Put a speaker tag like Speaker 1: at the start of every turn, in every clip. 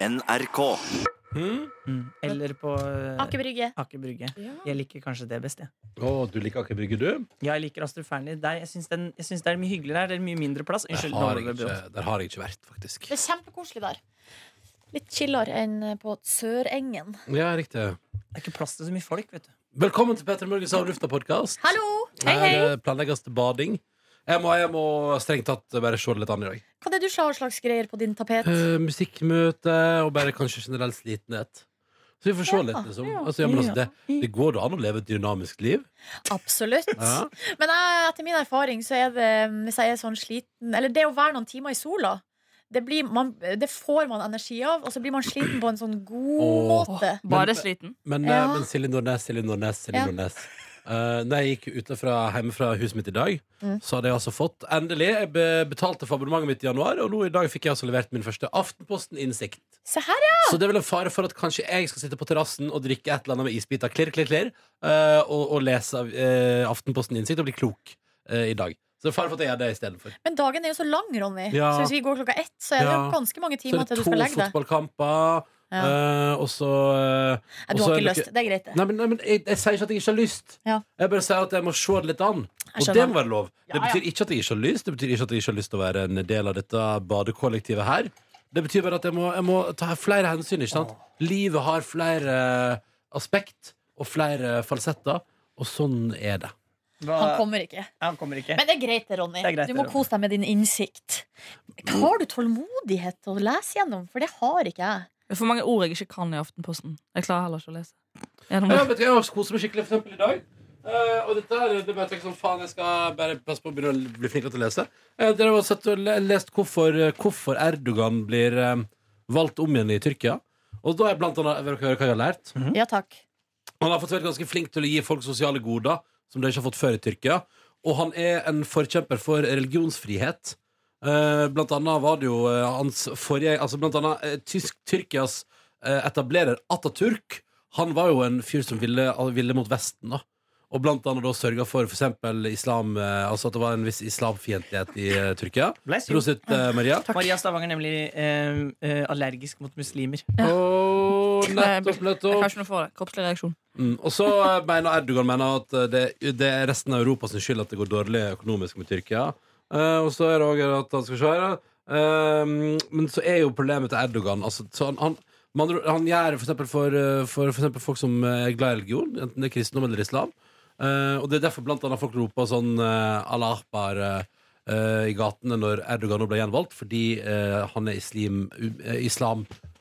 Speaker 1: NRK.
Speaker 2: Mm. Eller på eh,
Speaker 3: Aker Brygge.
Speaker 2: Aker Brygge.
Speaker 3: Ja.
Speaker 2: Jeg liker kanskje det best, jeg.
Speaker 4: Å, du liker Aker Brygge, du?
Speaker 2: Ja, jeg liker Astrup Fearnley. Der- Jeg syns den- jeg syns det er mye hyggeligere her. Det er mye mindre plass.
Speaker 4: Der
Speaker 2: Unnskyld. nå
Speaker 4: har,
Speaker 2: ble
Speaker 4: jeg
Speaker 2: det
Speaker 4: ikke,
Speaker 2: brått.
Speaker 4: der har jeg ikke vært, faktisk.
Speaker 3: Det er kjempekoselig der. Litt chillere enn eh, på Sørengen.
Speaker 4: Ja, riktig.
Speaker 2: Det er ikke plass til så mye folk, vet du.
Speaker 4: Velkommen til Petter Morgens Avlufta-podkast.
Speaker 3: Hallo! Hei, hei!
Speaker 4: Her eh, planlegges det bading. Jeg må, jeg må strengt tatt bare se det litt an i dag.
Speaker 3: Eh, Hva er det du har slags greier på din tapet?
Speaker 4: Eh, musikkmøte og bare kanskje generell slitenhet. Så vi får se
Speaker 3: Ja,
Speaker 4: litt, liksom.
Speaker 2: ja,
Speaker 4: Altså, ja, men altså,
Speaker 2: ja.
Speaker 4: det, det går da an å leve et dynamisk liv.
Speaker 3: Absolutt.
Speaker 4: Ja.
Speaker 3: Men jeg, etter min erfaring så er det mm, Hvis jeg er sånn sliten Eller det å være noen timer i sola det, blir man, det får man energi av, og så blir man sliten på en sånn god
Speaker 4: Åh.
Speaker 3: måte.
Speaker 4: Men-
Speaker 5: Bare sliten.
Speaker 4: Men, eh,
Speaker 3: Ja.
Speaker 4: men Silje Nordnes, Silje Nordnes, Silje
Speaker 3: Ja.
Speaker 4: Nordnes. Eh, når jeg gikk ut fra, hjemme fra huset mitt i dag,
Speaker 3: Mm.
Speaker 4: så hadde jeg altså fått Endelig. Jeg be betalte for abonnementet mitt i januar, og nå i dag fikk jeg altså levert min første Aftenposten Innsikt.
Speaker 3: Se her, ja!
Speaker 4: Så det er vel en fare for at kanskje jeg skal sitte på terrassen og drikke et eller annet med isbiter klirr, klirr, klirr, eh, og, og lese eh, Aftenposten Innsikt og bli klok eh, i dag. Så det er fare for at jeg gjør det istedenfor.
Speaker 3: Men dagen er jo så lang, Ronny.
Speaker 4: Ja.
Speaker 3: Så hvis vi går klokka ett, så er
Speaker 4: Ja.
Speaker 3: det jo ganske mange
Speaker 4: Så
Speaker 3: timer
Speaker 4: er det
Speaker 3: til du
Speaker 4: to
Speaker 3: skal legge deg.
Speaker 4: fotballkamper,
Speaker 3: Ja.
Speaker 4: eh, og så eh,
Speaker 3: Nei, Du
Speaker 4: og så er
Speaker 3: har ikke
Speaker 4: det
Speaker 3: lyst. Det er greit, det.
Speaker 4: Nei, men, nei, men jeg, jeg sier ikke at jeg ikke har lyst.
Speaker 3: Ja.
Speaker 4: Jeg bare sier at jeg må se det litt an. Og
Speaker 3: skjønner.
Speaker 4: det må være lov.
Speaker 3: Ja,
Speaker 4: Det betyr ikke at jeg ikke har lyst, det betyr ikke at jeg ikke har lyst til å være en del av dette badekollektivet her. Det betyr bare at jeg må, jeg må ta flere hensyn, ikke sant? Livet har flere eh, aspekt og flere eh, falsetter, og sånn er det.
Speaker 2: Hva-
Speaker 3: Han kommer ikke.
Speaker 2: Han kommer ikke.
Speaker 3: Men det er greit, det, Ronny.
Speaker 2: Det er greit,
Speaker 3: du må
Speaker 2: det, Ronny.
Speaker 3: kose deg med din innsikt. Har du tålmodighet til å lese gjennom? For det har ikke jeg.
Speaker 5: Det er for mange ord jeg ikke kan i Aftenposten. Jeg klarer heller ikke å lese.
Speaker 3: Mm.
Speaker 5: Gjennom
Speaker 4: Ja,
Speaker 5: det.
Speaker 4: vet du, jeg har koset meg skikkelig for eksempel i dag. Eh, og dette her, det bare tenker sånn, faen, jeg skal bare passe på å begynne å bli flinkere til å lese. Uh, dere har sett og le- lest hvorfor, eh, hvorfor Erdogan blir eh, valgt om igjen i Tyrkia. Og da er blant annet, vil dere høre hva jeg har lært?
Speaker 3: Ja takk.
Speaker 4: Han har fått vært ganske flink til å gi folk sosiale goder som de ikke har fått før i Tyrkia. Og han er en forkjemper for religionsfrihet. Eh, blant annet var det jo eh, hans forrige altså Blant annet eh, tysk, Tyrkias eh, etablerer Ataturk. Han var jo en fyr som ville, ville mot Vesten. da Og blant annet da sørga for f.eks. islam eh, Altså at det var en viss islamfiendtlighet i eh, Tyrkia.
Speaker 2: Bless you.
Speaker 4: Prosit, eh, Maria.
Speaker 2: Maria Stavanger er nemlig eh, eh, allergisk mot muslimer.
Speaker 4: Og nettopp,
Speaker 5: Jeg
Speaker 4: nettopp.
Speaker 5: kan ikke noe for det. Kroppslig reaksjon.
Speaker 4: Mm. Og så eh, mener Erdogan mener at eh, det, det er resten av Europas skyld at det går dårlig økonomisk med Tyrkia. Eh, og så er det òg at han skal se her. eh, men så er jo problemet til Erdogan altså, så han, han, med andre ord, han gjør det for eksempel for, eh, for, for eksempel folk som eh, er glad i religion, enten det er kristendom eller islam. Eh, og det er derfor blant annet folk roper sånn eh, Allah akbar eh, eh, i gatene når Erdogan nå ble gjenvalgt, fordi eh, han er islim, eh,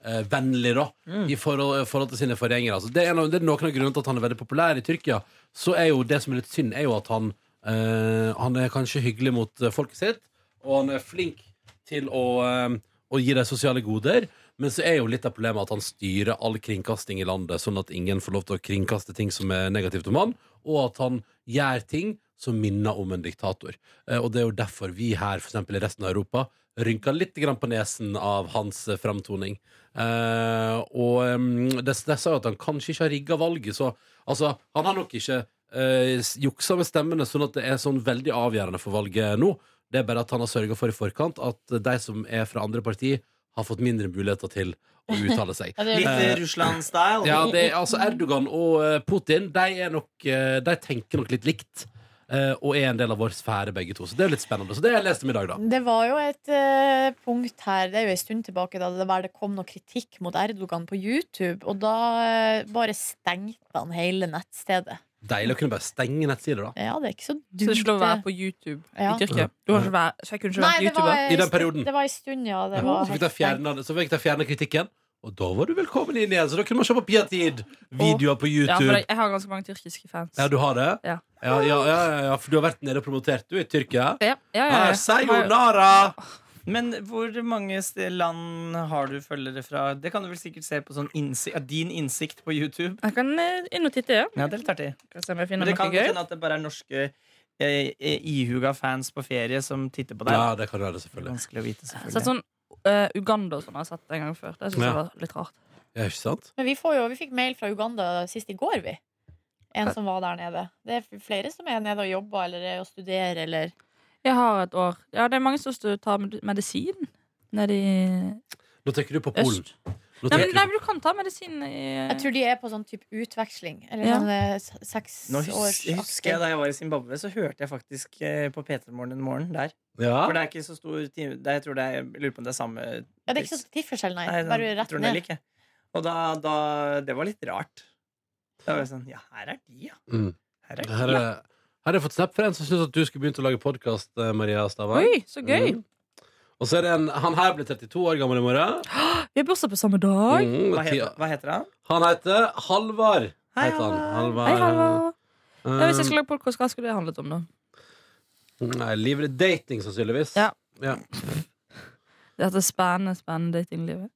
Speaker 4: islamvennlig, da, i forhold, forhold til sine forgjengere. Altså, det, er en av, det er noen av grunnene til at han er veldig populær i Tyrkia. Så er jo det som er litt synd, er jo at han, eh, han er kanskje hyggelig mot eh, folket sitt, og han er flink til å, eh, å gi deg sosiale goder. Men så er jo litt av problemet at han styrer all kringkasting i landet, sånn at ingen får lov til å kringkaste ting som er negativt om han, og at han gjør ting som minner om en diktator. Eh, Og det er jo derfor vi her, f.eks. i resten av Europa, rynker litt grann på nesen av hans eh, framtoning. Eh, og eh, det, det sa jo at han kanskje ikke har rigga valget, så altså, han har nok ikke eh, s- juksa med stemmene, sånn at det er sånn veldig avgjørende for valget nå. Det er bare at han har sørga for i forkant at de som er fra andre partier, har fått mindre muligheter til å uttale seg.
Speaker 2: Litt eh, Russland-style.
Speaker 4: Ja, det, er- altså Erdogan og eh, Putin de, er nok, eh, de tenker nok litt likt. eh, Og er en del av vår sfære, begge to. Så det er litt spennende. Så det har jeg lest om i dag, da.
Speaker 3: Det var jo et eh, punkt her, det er jo en stund tilbake, da det, var- det kom noe kritikk mot Erdogan på YouTube. Og da eh, bare stengte han hele nettstedet.
Speaker 4: Deilig å kunne bare stenge nettsider, da.
Speaker 3: Ja, det er ikke så dumt.
Speaker 5: Så det er ikke lov å være
Speaker 3: det.
Speaker 5: på YouTube
Speaker 3: Ja.
Speaker 5: i Tyrkia. Du har ikke vært, så jeg kunne ikke
Speaker 3: Nei,
Speaker 5: vært
Speaker 3: det var,
Speaker 5: YouTuber.
Speaker 4: I den perioden. Mhm.
Speaker 3: Det var en stund, ja. Det var
Speaker 4: Så fikk de fjerna- så fikk de fjerna kritikken, og da var du velkommen inn igjen. Så da kunne man se på Piatid. Videoer på
Speaker 5: Ja, for
Speaker 4: YouTube.
Speaker 5: jeg jeg har ganske mange tyrkiske fans.
Speaker 4: Ja, du har det?
Speaker 5: Ja.
Speaker 4: Ja, ja, ja, ja, for du har vært nede og promotert, du, i Tyrkia?
Speaker 5: Ja, ja, ja,
Speaker 4: Ah,
Speaker 5: ja.
Speaker 4: sayonara!
Speaker 2: Men hvor mange st- land har du følgere fra? Det kan du vel sikkert se på sånn innsikt, ja, din innsikt på YouTube.
Speaker 5: Jeg kan eh, inn og titte, ja.
Speaker 2: Ja, det er litt artig.
Speaker 5: Kan se om jeg
Speaker 2: Men
Speaker 5: finner
Speaker 2: det
Speaker 5: noe
Speaker 2: kan
Speaker 5: gøy.
Speaker 2: hende at det bare er norske eh, eh, ihuga fans på ferie som titter på deg.
Speaker 4: Ja, det kan du være,
Speaker 2: Det er
Speaker 4: selvfølgelig.
Speaker 2: vanskelig å vite,
Speaker 5: Sett
Speaker 2: selvfølgelig.
Speaker 5: sånn eh, Uganda og sånn har jeg sett en gang før. Det synes
Speaker 4: Ja.
Speaker 5: jeg var litt rart.
Speaker 4: Ja, ikke sant?
Speaker 3: Men vi, får jo, vi fikk mail fra Uganda sist i går, vi. En som var der nede. Det er flere som er nede og jobber eller er og studerer eller
Speaker 5: Jeg har et år. Ja, det er mange som stu- tar med- medisin nede i
Speaker 4: Nå tenker du på Polen.
Speaker 5: øst.
Speaker 4: Nå trekker
Speaker 5: Nei, men,
Speaker 4: du
Speaker 5: nei,
Speaker 4: på-
Speaker 5: men du kan ta medisin i
Speaker 3: Jeg tror de er på sånn type utveksling. Eller
Speaker 5: Ja.
Speaker 3: sånn eh, s- seks
Speaker 2: Nå
Speaker 3: års
Speaker 2: husker, husker jeg Da jeg var i Zimbabwe, så hørte jeg faktisk eh, på P3 Morgen en morgen der. For
Speaker 4: ja.
Speaker 2: det er ikke så stor time det, Jeg tror det er, jeg lurer på om det er samme
Speaker 3: Ja, det er ikke sånn tidsforskjell, nei.
Speaker 2: Nei,
Speaker 3: Bare
Speaker 2: jeg
Speaker 3: rett
Speaker 2: tror den er
Speaker 3: ned.
Speaker 2: lik, jeg. Og da, da Det var litt rart. Da var jeg sånn Ja, her er de, ja.
Speaker 4: Mm.
Speaker 2: Her er de.
Speaker 4: Her er, her er jeg fått snap fra en som syns at du skulle begynt å lage podkast, Maria Stavang.
Speaker 5: Oi, så gøy!
Speaker 4: Mm. Og så er det en Han her blir 32 år gammel i morgen.
Speaker 5: Vi har bursdag på samme dag.
Speaker 4: Mm,
Speaker 2: Hva
Speaker 4: ti-
Speaker 2: heter, hva heter han?
Speaker 4: han heter Halvard.
Speaker 2: Hei,
Speaker 4: heter han. eh,
Speaker 5: Hei, Halvard. Ja, hvis
Speaker 2: Eh.
Speaker 5: jeg skulle lage podkast, hva skulle det handlet om, da?
Speaker 4: Um, Nei, livet er dating, sannsynligvis.
Speaker 5: Ja.
Speaker 4: Ja.
Speaker 5: Dette spennende, spennende datinglivet.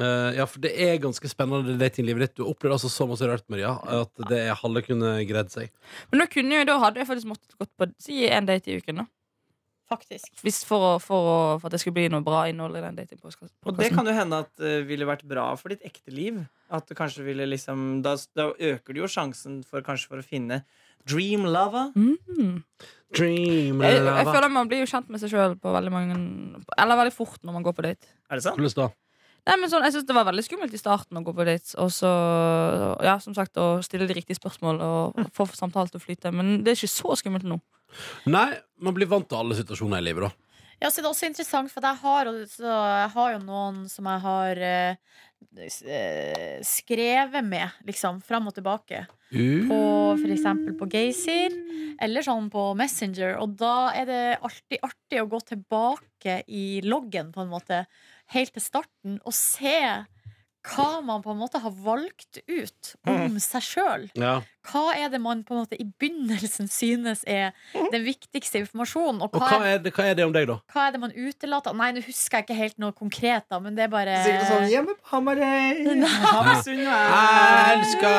Speaker 4: Eh, ja, for det er ganske spennende datinglivet ditt. Du opplevde altså så masse rart, Maria, at det er halve kunne greid seg.
Speaker 5: Men da, kunne jeg, da hadde jeg faktisk måttet gått på si en date i uken. da
Speaker 3: Faktisk.
Speaker 5: Hvis for, å, for, å, for at det skulle bli noe bra innhold i den datingpodkasten.
Speaker 2: Og det kan jo hende at det ville vært bra for ditt ekte liv. At du kanskje ville liksom Da, da øker du jo sjansen for kanskje for å finne dream lover.
Speaker 5: Mm.
Speaker 4: Dream
Speaker 5: Jeg, jeg føler Man blir jo kjent med seg sjøl på veldig mange Eller veldig fort når man går på date.
Speaker 2: Er det sant?
Speaker 4: Hvordan da?
Speaker 5: Nei, men sånn, jeg synes Det var veldig skummelt i starten å gå på dates og så, ja, som sagt, å stille de riktige spørsmål og
Speaker 2: Mm.
Speaker 5: få samtalen til å flyte. Men det er ikke så skummelt nå.
Speaker 4: Nei, man blir vant til alle situasjoner i livet, da.
Speaker 3: Ja, så det er også interessant, for at jeg har, og så, jeg har jo noen som jeg har eh, s- eh, skrevet med, liksom, fram og tilbake. På f.eks. på Geysir, eller sånn på Messenger. Og da er det alltid artig å gå tilbake i loggen, på en måte, helt til starten, og se hva man på en måte har valgt ut om seg sjøl.
Speaker 4: Ja.
Speaker 3: Hva er det man på en måte i begynnelsen synes er den viktigste informasjonen, Mm. og
Speaker 4: Og
Speaker 3: hva
Speaker 4: hva
Speaker 3: er
Speaker 4: er, det, hva er det om deg, da?
Speaker 3: hva er det man utelater? Nei, nå husker jeg ikke helt noe konkret, da, men det er bare
Speaker 2: Sikkert sånn Hjemme på Hamarøy. Hammersund og
Speaker 4: Jeg
Speaker 2: er
Speaker 4: elsker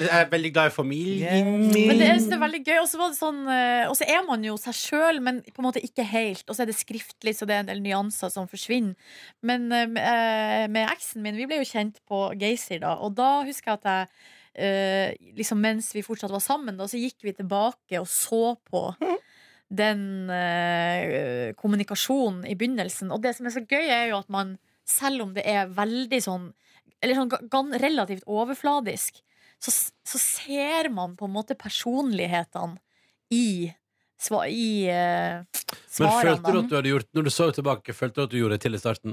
Speaker 4: Jeg er veldig glad i familien
Speaker 3: Men
Speaker 4: min.
Speaker 3: det er, det er veldig gøy. Og så var det sånn, eh, og så er man jo seg sjøl, men på en måte ikke helt. Og så er det skriftlig, så det er en del nyanser som forsvinner. Men eh, med- eh, med eksen min, vi ble jo kjent på Geysir, da. Og da husker jeg at jeg eh, liksom Mens vi fortsatt var sammen, da, så gikk vi tilbake og så på den eh, kommunikasjonen i begynnelsen. Og det som er så gøy, er jo at man, selv om det er veldig sånn Eller sånn ga- gan- relativt overfladisk, så, s- så ser man på en måte personlighetene i, sva, i eh,
Speaker 4: Men
Speaker 3: svarene.
Speaker 4: følte du at du hadde gjort Når du så tilbake, følte du at du gjorde det til i starten?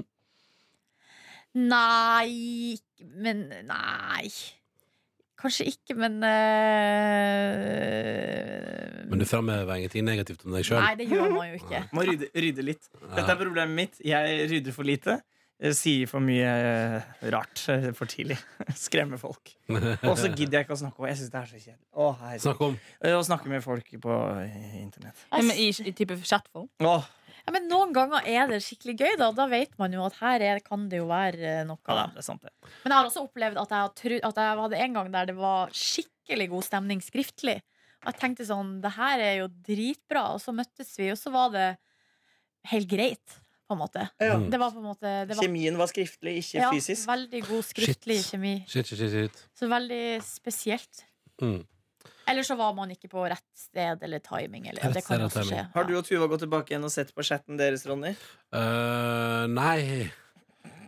Speaker 3: Nei Men nei. Kanskje ikke, men eh,
Speaker 4: Men du framhever ingenting negativt om deg sjøl?
Speaker 3: Nei, det gjør man jo ikke.
Speaker 2: Må rydde, rydde litt. Dette er problemet mitt. Jeg rydder for lite. eh, Sier for mye eh, rart eh, for tidlig. Skremmer folk. Og så gidder jeg ikke å snakke. om- Jeg syns det er så kjedelig. Å, herregud.
Speaker 4: Snakk om
Speaker 2: Eh, Å snakke med folk på eh, internett.
Speaker 5: Ja, men I, i type chatform.
Speaker 2: Åh,
Speaker 3: Ja, men Noen ganger er det skikkelig gøy. Da Da vet man jo at her er, kan det jo være eh, noe.
Speaker 2: ja, det er sant, det.
Speaker 3: Men jeg har også opplevd at jeg, har tru- at jeg hadde en gang der det var skikkelig god stemning skriftlig. Og jeg tenkte sånn, det her er jo dritbra. Og så møttes vi, og så var det helt greit, på en måte.
Speaker 4: Mm.
Speaker 3: Det var på en måte det var,
Speaker 2: Kjemien var skriftlig, ikke
Speaker 3: ja,
Speaker 2: fysisk.
Speaker 3: Veldig god skriftlig
Speaker 4: Shit.
Speaker 3: kjemi.
Speaker 4: Shit, shit, shit. shit.
Speaker 3: Så veldig spesielt.
Speaker 4: Mm.
Speaker 3: Eller så var man ikke på rett sted eller timing. Eller,
Speaker 4: Rett
Speaker 3: det kan
Speaker 4: sted
Speaker 3: jo
Speaker 4: og
Speaker 3: også
Speaker 4: timing.
Speaker 3: skje.
Speaker 2: Har du og Tuva gått tilbake igjen og sett på chatten deres, Ronny?
Speaker 4: Eh, nei.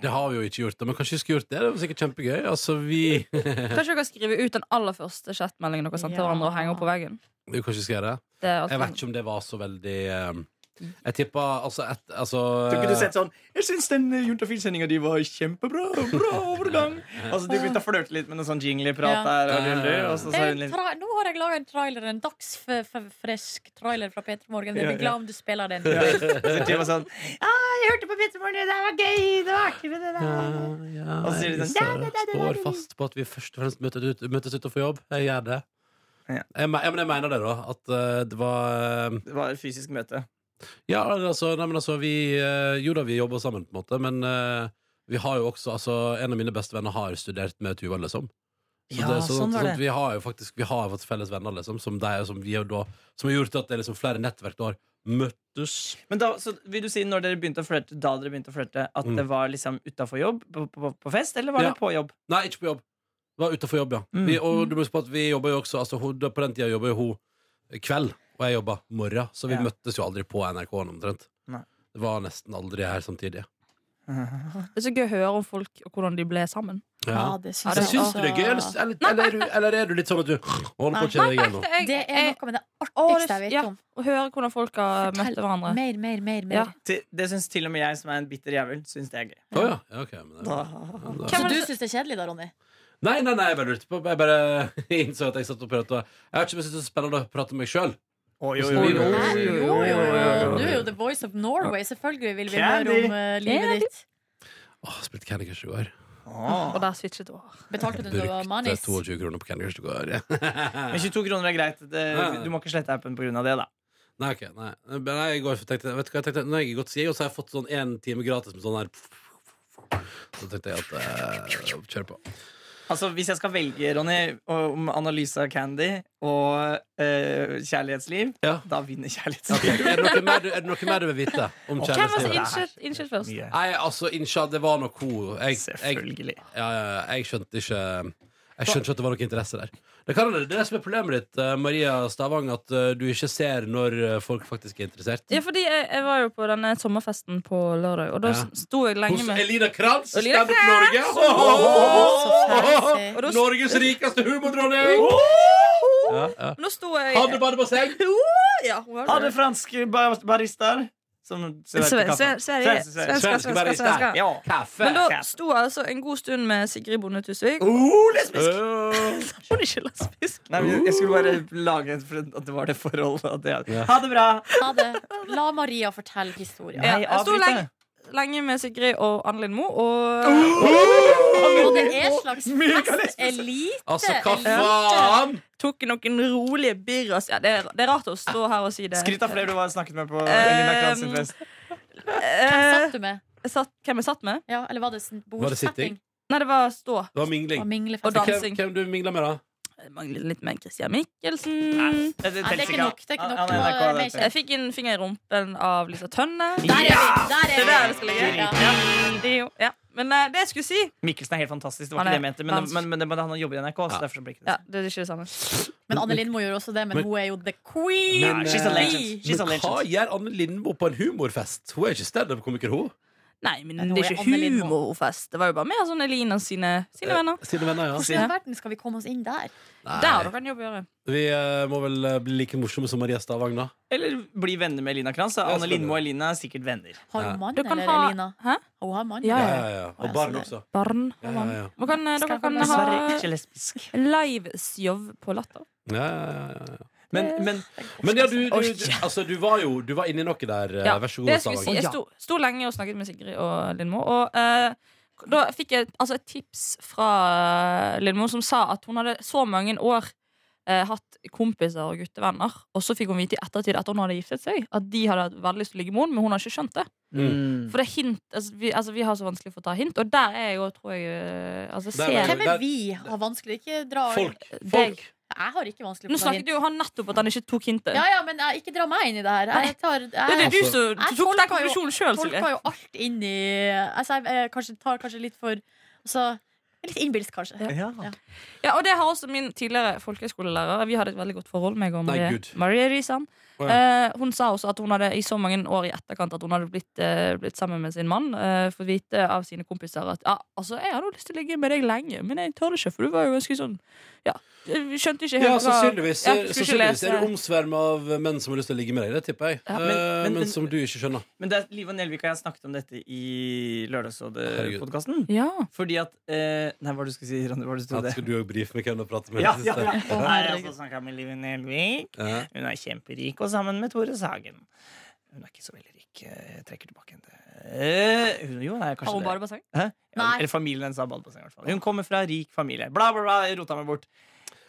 Speaker 4: Det har vi jo ikke gjort, da, men kanskje vi skulle gjort det? Det var sikkert kjempegøy. Altså, vi
Speaker 5: Kanskje dere skriver ut den aller første chatmeldingen dere sendte
Speaker 3: Ja.
Speaker 5: hverandre, og henger opp på veggen.
Speaker 4: Jo, kanskje vi skal gjøre det?
Speaker 5: Det er sånn- alltid-
Speaker 4: Jeg vet ikke om det var så veldig eh, Jeg tippa altså, et, altså
Speaker 2: Tror ikke du sett sånn 'Jeg syns den eh, Juntafil-sendinga di var kjempebra! Bra overgang!' Altså, de begynte å flørte litt med noe sånn jingleprat
Speaker 3: Ja.
Speaker 2: der, og luller, og så
Speaker 3: Det
Speaker 2: sa
Speaker 3: er
Speaker 2: hun
Speaker 3: en
Speaker 2: litt
Speaker 3: tra- Nå har jeg laga en trailer, en dagsfrisk trailer fra Peter Morgen. Jeg
Speaker 2: Ja,
Speaker 3: blir
Speaker 2: ja.
Speaker 3: glad om du spiller den.
Speaker 2: Så Tuva sånn
Speaker 3: Jeg hørte på Peter Morgen, det var gøy! Det var artig med det der.
Speaker 4: ja,
Speaker 2: Og så sier de
Speaker 4: jeg
Speaker 2: sånn,
Speaker 4: står-
Speaker 3: «Da, da, da, da, da,
Speaker 4: står
Speaker 3: da».
Speaker 4: fast på at vi først og fremst møtes, ut, møtes utenfor jobb. Jeg gjør det.
Speaker 2: Ja.
Speaker 4: Jeg, me- ja, men jeg mener det, da. At eh, det var eh,
Speaker 2: Det var et fysisk møte.
Speaker 4: Ja, altså, nei, men altså vi, eh, Jo da, vi jobber sammen, på en måte, men eh, vi har jo også altså, En av mine beste venner har studert med Tuva, liksom. Så det er sånn, at- sånn at vi har jo faktisk Vi har jo fått felles venner, liksom, som, deg, og som, vi, har da, som har gjort at det er liksom flere nettverk da har møttes.
Speaker 2: Men da, så vil du si når dere begynte å flørte, da dere begynte å flørte, at
Speaker 4: Mm.
Speaker 2: det var liksom utafor jobb? På, på, på fest, eller var
Speaker 4: Ja.
Speaker 2: det på jobb?
Speaker 4: Nei, ikke på jobb. Det var utenfor jobb, ja.
Speaker 2: Mm.
Speaker 4: Vi, og du må huske på at vi jobber jo også altså, hun, da- På den tida jobber jo hun kveld, og jeg jobber morgen, så vi
Speaker 2: Ja.
Speaker 4: møttes jo aldri på NRK-en omtrent.
Speaker 2: Nei.
Speaker 4: Det var nesten aldri her samtidig.
Speaker 5: Det er så gøy å høre om folk og hvordan de ble sammen.
Speaker 4: Ja.
Speaker 3: det
Speaker 5: Ja,
Speaker 3: syns
Speaker 4: Men
Speaker 5: det
Speaker 3: jeg
Speaker 4: syns du det er gøy, eller,
Speaker 3: også.
Speaker 4: eller, eller, er, du, eller er du litt sånn at du holder på å kjenne deg igjen nå?
Speaker 3: Det er noe med det
Speaker 5: Å,
Speaker 3: artigste jeg
Speaker 5: det-
Speaker 3: vet
Speaker 5: ja.
Speaker 3: om.
Speaker 5: å høre hvordan folk har møtt hverandre.
Speaker 3: Mer, mer, mer. mer.
Speaker 5: Ja.
Speaker 2: Til- Det syns til og med jeg, som er en bitter jævel, syns det er gøy.
Speaker 4: Å ja. ja ok, men det,
Speaker 2: Da.
Speaker 4: da-
Speaker 5: Hvem
Speaker 3: Så
Speaker 5: er
Speaker 3: du
Speaker 5: det-
Speaker 3: syns det er kjedelig da, Ronny?
Speaker 4: Nei, nei, nei, jeg bare lurte på Jeg bare innså at jeg satt og prata Jeg har ikke syntes det er så spennende å prate med meg sjøl.
Speaker 2: Oi, oi,
Speaker 4: Jo,
Speaker 2: oi,
Speaker 4: jo, jo,
Speaker 2: oi.
Speaker 4: jo,
Speaker 3: Jo, jo, jo.
Speaker 4: jo.
Speaker 3: Du er jo the voice of Norway. Selvfølgelig vil vi høre
Speaker 2: Candy.
Speaker 3: om eh, livet ditt.
Speaker 4: Åh, spilte Candy Crush i går.
Speaker 2: Åh.
Speaker 5: Og der switchet det over.
Speaker 3: Betalte du når det var
Speaker 4: Brukte
Speaker 3: manis?
Speaker 4: 22 kroner på Candy Crush i går.
Speaker 2: Men 22 kroner er greit. Det,
Speaker 4: Ja.
Speaker 2: du må ikke slette appen pga. det, da.
Speaker 4: nei, ok, nei. Men nei, i går tenkte jeg Vet du hva jeg tenkte? Nå har jeg gått siden, og så har jeg fått sånn én time gratis med sånn her Så tenkte jeg at eh, Kjør på.
Speaker 2: Altså, Hvis jeg skal velge, Ronny, om analyse av Candy og eh, kjærlighetsliv,
Speaker 4: Ja.
Speaker 2: da vinner
Speaker 4: Ok,
Speaker 2: kjærlighetsliv.
Speaker 4: Er det noe mer, du- er det noe mer du vil vite om
Speaker 2: Hvem
Speaker 5: Hvem var det som
Speaker 4: kjærlighetslivet?
Speaker 2: inn-
Speaker 5: innskyt, innskyt først?
Speaker 2: Mye.
Speaker 4: Nei, altså, innsja, det var nok hun. Jeg, jeg,
Speaker 2: Selvfølgelig.
Speaker 4: ja, ja, ja, jeg skjønte ikke Jeg skjønte ikke at det var noe interesse der. Det, kan, det er det som er problemet ditt, eh, Maria Stavang, at eh, du ikke ser når eh, folk faktisk er interessert.
Speaker 5: Ja, fordi jeg, jeg var jo på denne sommerfesten på lørdag, og da
Speaker 4: Ja.
Speaker 5: sto jeg lenge
Speaker 4: Hos
Speaker 5: med
Speaker 4: Elina Kranz,
Speaker 5: Elina
Speaker 4: standup Norge! Ho, ho, ho, ho, ho, ho, ho.
Speaker 5: Og da-
Speaker 4: Norges rikeste humordronning! Ja, ja.
Speaker 5: Men da sto jeg
Speaker 4: Hadde badebasseng!
Speaker 5: Ja, hun var
Speaker 2: Ha det,
Speaker 5: det.
Speaker 2: franske bar baristaer. Som serverer
Speaker 5: Sve-
Speaker 2: kaffe.
Speaker 5: sve- Sverige.
Speaker 2: Svenske- svenske.
Speaker 5: Svenska,
Speaker 4: Svenske
Speaker 5: svenska,
Speaker 4: barista.
Speaker 5: svenska.
Speaker 2: Ja.
Speaker 4: Kaffe!
Speaker 5: Men da sto jeg altså en god stund med Sigrid Bonde Tusvik.
Speaker 2: Oh, lesbisk!
Speaker 4: Øh.
Speaker 5: Hun er ikke lesbisk.
Speaker 2: Nei, men jeg skulle bare lage en for at det var det forholdet. At jeg,
Speaker 4: Oh. Ja.
Speaker 2: ha det bra!
Speaker 3: Ha det. La Maria fortelle historien.
Speaker 5: Ja,
Speaker 2: Nei,
Speaker 5: jeg sto
Speaker 2: avbryt
Speaker 5: lenge,
Speaker 2: det.
Speaker 5: lenge med Sigrid og Anne Lindmo, og Oh!
Speaker 3: Og det er slags fest.
Speaker 2: Megalesbisk.
Speaker 3: Elite.
Speaker 4: Altså, hva
Speaker 3: elite.
Speaker 4: faen?
Speaker 5: tok noen rolige birras. Ja, det, er, det er rart å stå her og si det.
Speaker 2: Skryt av flere du har snakket med på
Speaker 5: Eh,
Speaker 2: Elina Kranz sin fest.
Speaker 5: Eh,
Speaker 3: Satt du med?
Speaker 5: jeg satt, hvem jeg satt med?
Speaker 3: Ja, eller var det sånn
Speaker 4: sitting?
Speaker 3: bordsetting?
Speaker 5: Nei, det var stå.
Speaker 4: Det var mingling.
Speaker 3: Og
Speaker 5: Og
Speaker 3: minglefest?
Speaker 5: da-
Speaker 3: Nei,
Speaker 4: Hvem,
Speaker 5: dansing.
Speaker 4: hvem du mingla med, da?
Speaker 5: Jeg manglet litt med Christian Mikkelsen.
Speaker 2: Det,
Speaker 3: det er ikke nok. Det er ikke nok. Nå er det mer
Speaker 5: Jeg fikk en finger i rumpen av Lisa Tønne.
Speaker 3: Der er vi! Der
Speaker 5: Det der
Speaker 3: er
Speaker 5: det skal
Speaker 3: vi!
Speaker 5: ligge.
Speaker 3: Ja.
Speaker 5: Det er jo- Ja. Men eh, det jeg skulle si
Speaker 2: Mikkelsen er helt fantastisk. Det var
Speaker 5: Han
Speaker 2: ikke det
Speaker 5: er
Speaker 2: jeg mente, men,
Speaker 5: dansk.
Speaker 2: men, men, men han jobber i NRK, så
Speaker 4: Ja.
Speaker 2: derfor så blir det ikke det.
Speaker 5: Ja, det er ikke det samme.
Speaker 3: Men Anne Lindmo gjorde også det, men
Speaker 4: Men-
Speaker 3: hun er jo the queen!
Speaker 2: Nei, she's a legend.
Speaker 3: Oi.
Speaker 2: She's a
Speaker 4: eh, Men hva
Speaker 2: legend.
Speaker 4: gjør Anne Lindmo på en humorfest? Hun er ikke standup-komiker, hun.
Speaker 5: Nei, men
Speaker 3: Nå
Speaker 5: det
Speaker 3: er
Speaker 5: er
Speaker 3: Anne
Speaker 5: ikke
Speaker 3: Lindmo.
Speaker 5: humorfest. Det var jo bare mer sånn Elina sine, sine venner.
Speaker 4: Eh, Sine venner, ja.
Speaker 3: Hvordan i all verden skal vi komme oss inn der?
Speaker 5: Der har dere en jobb å gjøre.
Speaker 4: Vi eh, må vel eh, bli like morsomme som Maria Stavang, da.
Speaker 2: Eller bli venner med Elina Kranz.
Speaker 4: Ja,
Speaker 2: Anne
Speaker 4: selvfølgelig.
Speaker 2: Lindmo og Elina er sikkert venner.
Speaker 3: Har
Speaker 4: Ja.
Speaker 3: hun mann,
Speaker 5: Du kan
Speaker 3: eller
Speaker 5: ha-
Speaker 3: Elina?
Speaker 5: Hæ?
Speaker 3: Hun har mann.
Speaker 5: Ja,
Speaker 4: Ja, ja, ja.
Speaker 3: Å, ja,
Speaker 4: Og barn
Speaker 3: sånn.
Speaker 4: også.
Speaker 5: Barn.
Speaker 4: Ja, ja, ja.
Speaker 5: Man kan, eh,
Speaker 3: Skal
Speaker 5: dere kan
Speaker 3: jeg
Speaker 5: ha
Speaker 2: Dessverre ikke lesbisk.
Speaker 5: liveshow på Latter.
Speaker 4: Ja, ja, ja, ja.
Speaker 2: Men, men
Speaker 4: Men ja, du, du,
Speaker 5: Oi.
Speaker 4: du, altså, du var jo Du var inni noe der. eh,
Speaker 5: Ja,
Speaker 4: Vær så
Speaker 5: Det
Speaker 4: god,
Speaker 5: jeg skulle si,
Speaker 4: Stavang.
Speaker 5: jeg sto, sto lenge og snakket med Sigrid og Lindmo, og eh, da fikk jeg altså, et tips fra Lindmo som sa at hun hadde så mange år eh, hatt kompiser og guttevenner, og så fikk hun vite i ettertid at hun hadde giftet seg, at de hadde hatt veldig lyst til å ligge med henne, men hun har ikke skjønt det.
Speaker 2: mm.
Speaker 5: For det er hint, altså, vi, altså, vi har så vanskelig for å ta hint, og der er jeg jo, tror jeg eh, Altså,
Speaker 4: Der var
Speaker 5: ser
Speaker 3: Hvem er vi? Har vanskelig Ikke dra
Speaker 4: Folk.
Speaker 5: deg.
Speaker 4: Folk.
Speaker 3: Jeg har ikke vanskelig for
Speaker 5: Nå
Speaker 3: å ta
Speaker 5: snakket
Speaker 3: hint.
Speaker 5: jo han nettopp at han ikke tok hintet.
Speaker 3: Ja, ja, men eh, ikke dra meg inn i det her. Jeg tar,
Speaker 5: Det er
Speaker 3: jeg,
Speaker 5: du
Speaker 4: Altså-
Speaker 5: som
Speaker 3: Jeg
Speaker 5: du tok den
Speaker 3: tolker jo-
Speaker 5: konklusjonen sjøl, Silje.
Speaker 3: tolker jo alt inn i altså, Jeg eh, kanskje, tar kanskje litt for altså, Litt innbilsk, kanskje.
Speaker 2: ja.
Speaker 5: Ja, og det har også min tidligere folkehøyskolelærer. Vi hadde et veldig godt forhold, meg og
Speaker 4: Nei,
Speaker 5: Marie,
Speaker 4: Gud.
Speaker 5: Marie Risan.
Speaker 4: Å,
Speaker 5: eh, hun sa også at hun hadde i så mange år i etterkant at hun hadde blitt, eh, blitt sammen med sin mann. Eh, fått vite av sine kompiser at ja, altså, jeg hadde jo lyst til å ligge med deg lenge, men jeg tør ikke, for du var jo ganske sånn Ja, vi skjønte ikke helt
Speaker 4: Ja,
Speaker 5: hva-
Speaker 4: sannsynligvis, eh,
Speaker 5: Ja, jeg skulle ikke
Speaker 4: sannsynligvis er
Speaker 5: lese.
Speaker 4: du omsverma av menn som har lyst til å ligge med deg. Det tipper jeg. Eh,
Speaker 5: Ja,
Speaker 2: men-
Speaker 4: men,
Speaker 2: men- men-
Speaker 4: som du ikke skjønner.
Speaker 2: Men det er, Live og Nelvik og jeg har snakket om dette i
Speaker 4: Herregud.
Speaker 2: Lørdagsrådet-podkasten.
Speaker 5: Ja.
Speaker 2: Fordi at eh, Nei, hva var det du skulle si, Ronny? Hva var det du
Speaker 4: At
Speaker 2: trodde?
Speaker 4: skal du òg brife med hvem du har pratet med? i
Speaker 2: Ja,
Speaker 4: det
Speaker 2: ja,
Speaker 4: siste?
Speaker 2: ja.
Speaker 5: Å,
Speaker 2: Her er
Speaker 5: herregud.
Speaker 2: altså snakket med Live Nelvik.
Speaker 4: Ja.
Speaker 2: Hun er kjemperik og sammen med Tore Sagen. Hun er ikke så veldig rik. eh, Jeg trekker tilbake henne. Eh, hun, jo, nei,
Speaker 5: Har
Speaker 2: kanskje
Speaker 5: hun
Speaker 2: det.
Speaker 5: badebasseng?
Speaker 2: Ja,
Speaker 3: Nei.
Speaker 2: eller familien hennes har badebasseng. i hvert fall. Hun kommer fra rik familie. Bla, bla, bla. jeg Rota meg bort.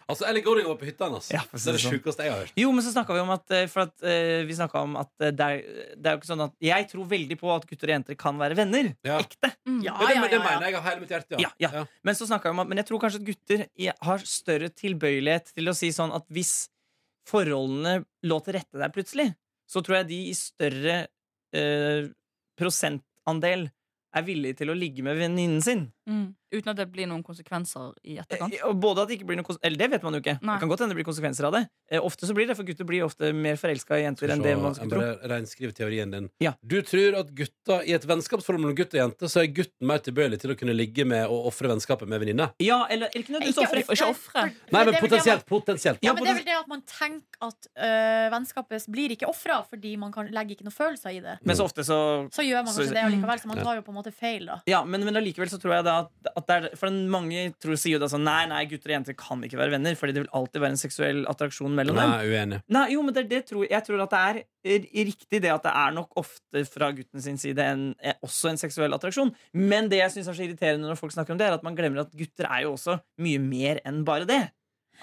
Speaker 4: Altså, Ellie Golding var på hytta hennes.
Speaker 2: Ja, for
Speaker 4: det
Speaker 2: å si
Speaker 4: er det
Speaker 2: det sånn.
Speaker 4: sjukeste jeg har hørt.
Speaker 2: Jo, men så snakka vi om at, eh, for at eh, vi snakket om at eh, det er, det er jo ikke sånn at Jeg tror veldig på at gutter og jenter kan være venner.
Speaker 4: Ja.
Speaker 2: Ekte.
Speaker 3: Ja,
Speaker 4: Men det,
Speaker 3: ja,
Speaker 4: men det
Speaker 3: ja,
Speaker 4: mener
Speaker 3: ja.
Speaker 4: jeg av hele mitt hjerte.
Speaker 2: Ja, ja. Men så snakket vi om at Men jeg tror kanskje at gutter i- har større tilbøyelighet til å si sånn at hvis forholdene lå til rette der plutselig, så tror jeg de i større eh, prosentandel er villige til å ligge med venninnen sin.
Speaker 5: Uten at det blir noen konsekvenser i
Speaker 4: Eh,
Speaker 5: etterkant.
Speaker 2: Eh, Og både at det ikke blir noe kons- Eller det vet man jo ikke.
Speaker 5: Nei.
Speaker 2: Det kan godt hende det blir konsekvenser av det. Eh, Ofte så blir det, for gutter blir ofte mer forelska i jenter enn det man
Speaker 4: jeg
Speaker 2: skulle tro.
Speaker 4: bare renskriver teorien din.
Speaker 2: Ja.
Speaker 4: Du tror at gutta, i et vennskapsforhold mellom gutt og jente, så er gutten mer tilbøyelig til å kunne ligge med og ofre vennskapet med venninne.
Speaker 2: Ja, eller eller ikke nødvendigvis ofre.
Speaker 5: ikke ofre.
Speaker 4: Nei, men
Speaker 3: det er vel det
Speaker 4: potensielt. potensielt.
Speaker 3: Ja, men det er vel det at man tenker at øh, vennskapet blir ikke ofra fordi man kan, legger ikke noen følelser i det.
Speaker 2: Men så ofte så
Speaker 3: Så gjør man
Speaker 2: Så-
Speaker 3: kanskje det allikevel, så man tar jo på en måte feil, da.
Speaker 2: ja, men, men allikevel så tror jeg da at, at det er For mange tror, sier jo da sånn Nei, nei, gutter og jenter kan ikke være venner, Fordi det vil alltid være en seksuell attraksjon mellom
Speaker 4: Nei,
Speaker 2: dem.
Speaker 4: uenig.
Speaker 2: Nei, jo, men det, er det tror, Jeg tror at det er r- riktig det at det er nok ofte fra gutten sin side en, eh, også en seksuell attraksjon. Men det jeg syns er så irriterende når folk snakker om det, er at man glemmer at gutter er jo også mye mer enn bare det.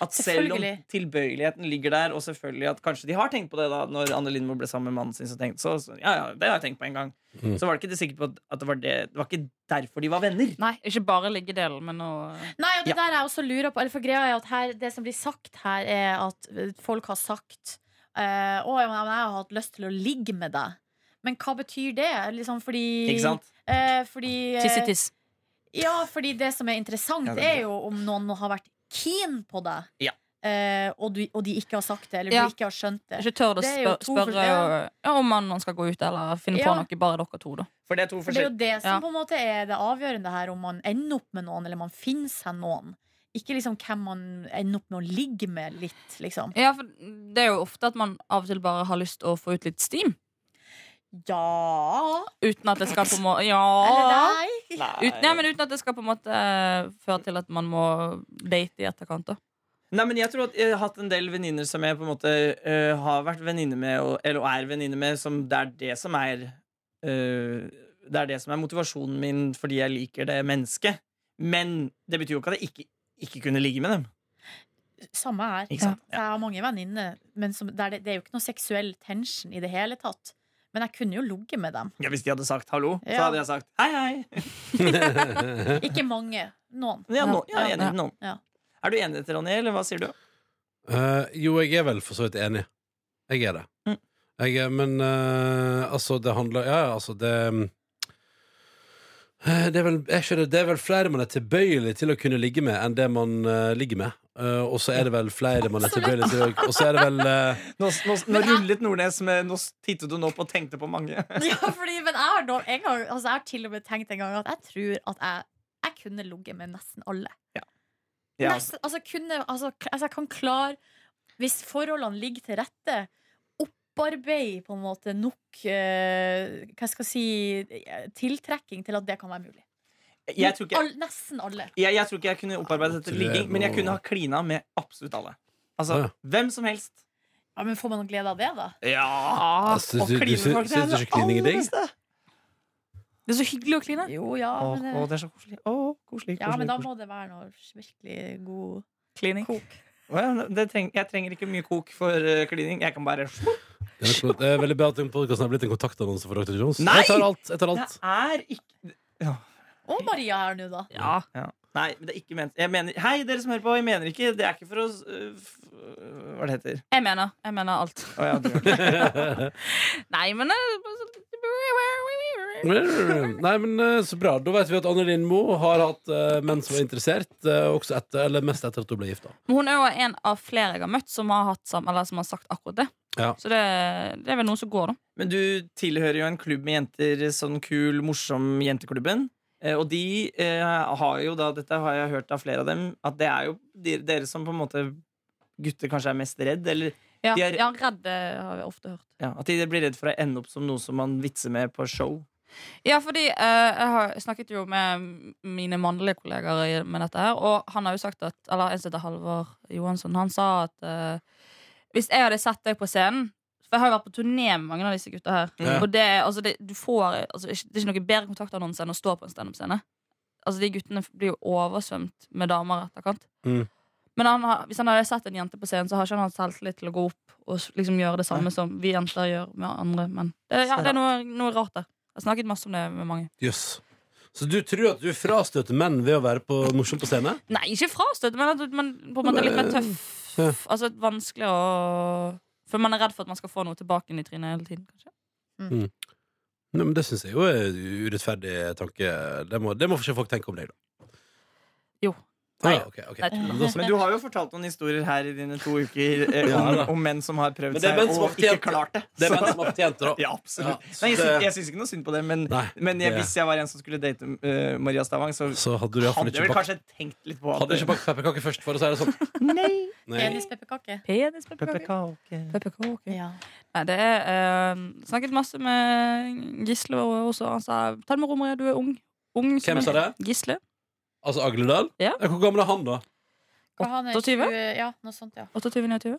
Speaker 2: At selv om
Speaker 3: Selvfølgelig.
Speaker 2: tilbøyeligheten ligger der, og selvfølgelig at kanskje de har tenkt på det da Når Anne Lindmo ble sammen med mannen sin, så tenkte så, så ja, ja, det har jeg tenkt på en gang.
Speaker 4: Mm.
Speaker 2: Så var det ikke det sikkert på at- at det var, det, det var ikke derfor de var venner.
Speaker 5: Nei, ikke bare liggedelen, men å
Speaker 3: Nei, og det
Speaker 2: Ja.
Speaker 3: der er jeg også lurer på Eller for greia er at her, det som blir sagt her Er at eh, folk har sagt eh, Å, ja, men jeg har hatt lyst til å ligge med deg Men hva betyr det? Liksom fordi
Speaker 2: Ikke sant?
Speaker 3: eh, fordi, eh,
Speaker 5: Tiss i tiss.
Speaker 3: Ja, fordi det som er interessant
Speaker 2: Ja, det-
Speaker 3: Er jo om noen har vært keen på deg
Speaker 2: Ja.
Speaker 3: eh, og, du, og de ikke har sagt det Eller
Speaker 5: Ja.
Speaker 3: du ikke har skjønt det
Speaker 5: Ikke tør å
Speaker 3: Det er jo
Speaker 5: spør,
Speaker 3: to
Speaker 5: spørre
Speaker 3: forskjellige-
Speaker 5: ja, om mannen skal gå ut, eller finne på
Speaker 3: Ja.
Speaker 5: noe bare dere to. da
Speaker 2: For det er to
Speaker 3: For det er
Speaker 2: forskjellige
Speaker 3: jo det som
Speaker 5: Ja.
Speaker 3: på en måte er det avgjørende her, om man ender opp med noen, eller man finner seg noen. Ikke liksom hvem man ender opp med å ligge med litt, liksom.
Speaker 5: Ja, for Det er jo ofte at man av og til bare har lyst til å få ut litt steam.
Speaker 3: Ja
Speaker 5: Uten at det skal på en måte Ja!
Speaker 3: Eller nei?
Speaker 5: Uten, ja, men uten at det skal på en måte eh, føre til at man må date i etterkant. da
Speaker 2: Nei, men jeg tror at jeg har hatt en del venninner som jeg på en måte øh, har vært venninne med, og, eller er venninne med, som det er det som er øh, Det er det som er motivasjonen min fordi jeg liker det mennesket. Men det betyr jo ikke at jeg ikke, ikke kunne ligge med dem.
Speaker 3: Samme her.
Speaker 2: Ikke sant?
Speaker 3: For Jeg har mange venninner, men som, der det, det er jo ikke noe seksuell tension i det hele tatt. Men jeg kunne jo ligget med dem.
Speaker 2: Ja, Hvis de hadde sagt hallo, så
Speaker 3: Ja.
Speaker 2: hadde jeg sagt hei, hei.
Speaker 3: Ikke mange. Noen.
Speaker 2: Ja, no, ja, jeg er enig
Speaker 5: Ja.
Speaker 2: med noen.
Speaker 3: Ja.
Speaker 2: Er du enig, Ronny, eller hva sier du?
Speaker 4: Eh, jo, jeg er vel for så vidt enig. Jeg er det.
Speaker 2: Mm.
Speaker 4: Jeg er, men eh, altså, det handler Ja, ja, altså, det Eh, det er, vel, jeg skjønner, det er vel flere man er tilbøyelig til å kunne ligge med, enn det man eh, ligger med. Eh, og så er det vel flere man er tilbøyelig til å Og så er det vel eh,
Speaker 2: Nå, nå, nå
Speaker 3: Men jeg-
Speaker 2: rullet Nordnes med Nå tittet du nå på og tenkte på mange.
Speaker 3: Ja, fordi, men jeg har, nå- en gang, altså jeg har til og med tenkt en gang at jeg tror at jeg, jeg kunne ligget med nesten alle.
Speaker 2: Ja.
Speaker 3: Nesten, altså, kunne, altså, k- altså, jeg kan klare Hvis forholdene ligger til rette Opparbeid på en måte nok eh, Hva skal jeg si eh, Tiltrekking til at det kan være mulig
Speaker 2: Jeg, tror ikke,
Speaker 3: All, Nesten alle
Speaker 2: jeg, jeg tror ikke jeg kunne opparbeidet dette
Speaker 4: Tror jeg
Speaker 2: ligging, men jeg
Speaker 4: nå-
Speaker 2: kunne ha klina med absolutt alle. Altså,
Speaker 4: Ja.
Speaker 2: Hvem som helst.
Speaker 3: ja, Men får man noe glede av det da?
Speaker 2: Ja!
Speaker 4: Altså, du- du- du sy-
Speaker 2: klinefolk,
Speaker 4: syns du ikke klining er digg?
Speaker 5: Det er så hyggelig å kline.
Speaker 3: Jo, ja,
Speaker 2: Å,
Speaker 3: men,
Speaker 2: å,
Speaker 3: eh,
Speaker 2: det er så koselig. Å, koselig, koselig,
Speaker 3: ja, men da
Speaker 2: koselig.
Speaker 3: må det være noe virkelig god
Speaker 5: Klining.
Speaker 3: kok
Speaker 2: Å, ja, det treng, Jeg trenger ikke mye kok for eh, klining. Jeg kan bare
Speaker 4: det er nok- det er veldig bra at den podkasten har blitt en kontaktannonse for Dr. Jones.
Speaker 2: Nei!
Speaker 4: Jeg tar alt. Jeg tar
Speaker 2: Det
Speaker 4: alt.
Speaker 2: er ikke
Speaker 3: Og Maria her nå da
Speaker 5: Ja.
Speaker 2: Nei, men det er ikke ment jeg mener, Hei, dere som hører på, jeg mener ikke Det er ikke for å eh, f- Hva det heter
Speaker 5: Jeg mener, jeg mener alt.
Speaker 2: Å, ja, du-
Speaker 5: Nei, men eh,
Speaker 4: Nei, men eh, så bra. Da vet vi at Anne Lindmo har hatt eh, menn som er interessert, eh, også etter, eller mest etter at hun ble gifta.
Speaker 5: Men Hun er jo en av flere jeg har møtt som har, hatt sam eller som har sagt akkurat det.
Speaker 4: Ja.
Speaker 5: Så det, det er vel noen som går, da.
Speaker 2: Men du tilhører jo en klubb med jenter Sånn kul, morsom jenteklubben Eh, Og de eh, har jo da Dette har jeg hørt av flere av dem At det er jo de, dere som på en måte Gutter kanskje er mest redd Eller
Speaker 5: Ja,
Speaker 2: De er-
Speaker 5: ja redd eh, har jeg ofte hørt.
Speaker 2: Ja, At de blir redd for å ende opp som noe som man vitser med på show.
Speaker 5: Ja, fordi eh, jeg har snakket jo med mine mannlige kollegaer i- med dette her, og han har jo sagt at Eller en som heter Halvor Johansson, han sa at eh, hvis jeg hadde sett deg på scenen For jeg har jo vært på turné med mange av disse gutta her.
Speaker 4: Ja.
Speaker 5: Og det, altså, det, du får, altså, ikke- det er ikke noe bedre kontaktannonse enn å stå på en standup-scene. Altså, de guttene blir jo oversvømt med damer etterkant.
Speaker 4: Mm.
Speaker 5: Men han har, hvis han hadde sett en jente på scenen, så har ikke han hatt selvtillit til å gå opp og s- liksom gjøre det samme
Speaker 2: Nei.
Speaker 5: som vi jenter gjør med andre menn. Det, ja, det er noe, noe rart der. Jeg har snakket masse om det med mange.
Speaker 4: Jøss. Så du tror at du frastøter menn ved å være på, morsom på scene?
Speaker 5: Nei, ikke frastøt, men at man på en måte er litt mer tøff.
Speaker 4: Ja.
Speaker 5: Altså vanskelig å For man er redd for at man skal få noe tilbake inn i trynet hele tiden. kanskje
Speaker 4: Nei, men Det syns jeg jo er urettferdig tanke. Det må, det må ikke folk tenke om deg, da. Nei, ah, ok, ok.
Speaker 5: Nei, tull.
Speaker 4: Da-
Speaker 2: Men du har jo fortalt noen historier her i dine to uker eh,
Speaker 4: Ja,
Speaker 2: om,
Speaker 4: da.
Speaker 2: om menn som har
Speaker 4: Men
Speaker 2: prøvd
Speaker 4: det er
Speaker 2: seg
Speaker 4: menn som har
Speaker 2: og ikke
Speaker 4: fortjent det.
Speaker 2: klart det.
Speaker 4: Det er
Speaker 2: Så-
Speaker 4: menn som har fortjent det, da.
Speaker 2: Ja, absolutt.
Speaker 4: Ja, så
Speaker 2: Nei, jeg, syns,
Speaker 4: det-
Speaker 2: jeg syns ikke noe synd på det, men,
Speaker 4: Nei,
Speaker 2: men jeg,
Speaker 4: det-
Speaker 2: hvis jeg var en som skulle date eh, Maria Stavang, så
Speaker 4: Så hadde du iallfall
Speaker 2: hadde jeg
Speaker 4: ikke
Speaker 2: vel
Speaker 4: bakt
Speaker 2: kanskje tenkt litt på at
Speaker 4: Hadde du ikke bakt pepperkaker først, for å si det sånn.
Speaker 2: Nei!
Speaker 4: Nei.
Speaker 3: Penispepperkake.
Speaker 5: Penis, pepperkake.
Speaker 2: Pepperkake.
Speaker 5: Pepperkake.
Speaker 3: Ja.
Speaker 5: Nei, det er eh, Snakket masse med Gisle og- også. Han sa ta det med ro, Maria, du er ung. ung som
Speaker 4: Hvem
Speaker 5: en-
Speaker 4: sa det?
Speaker 5: Gisle.
Speaker 4: Altså Agledal?
Speaker 5: Ja.
Speaker 4: Hvor gammel er han, da?
Speaker 3: Hva, han er
Speaker 5: 28?
Speaker 3: 20 Ja, noe sånt, ja.
Speaker 5: 28-29.
Speaker 4: Eh,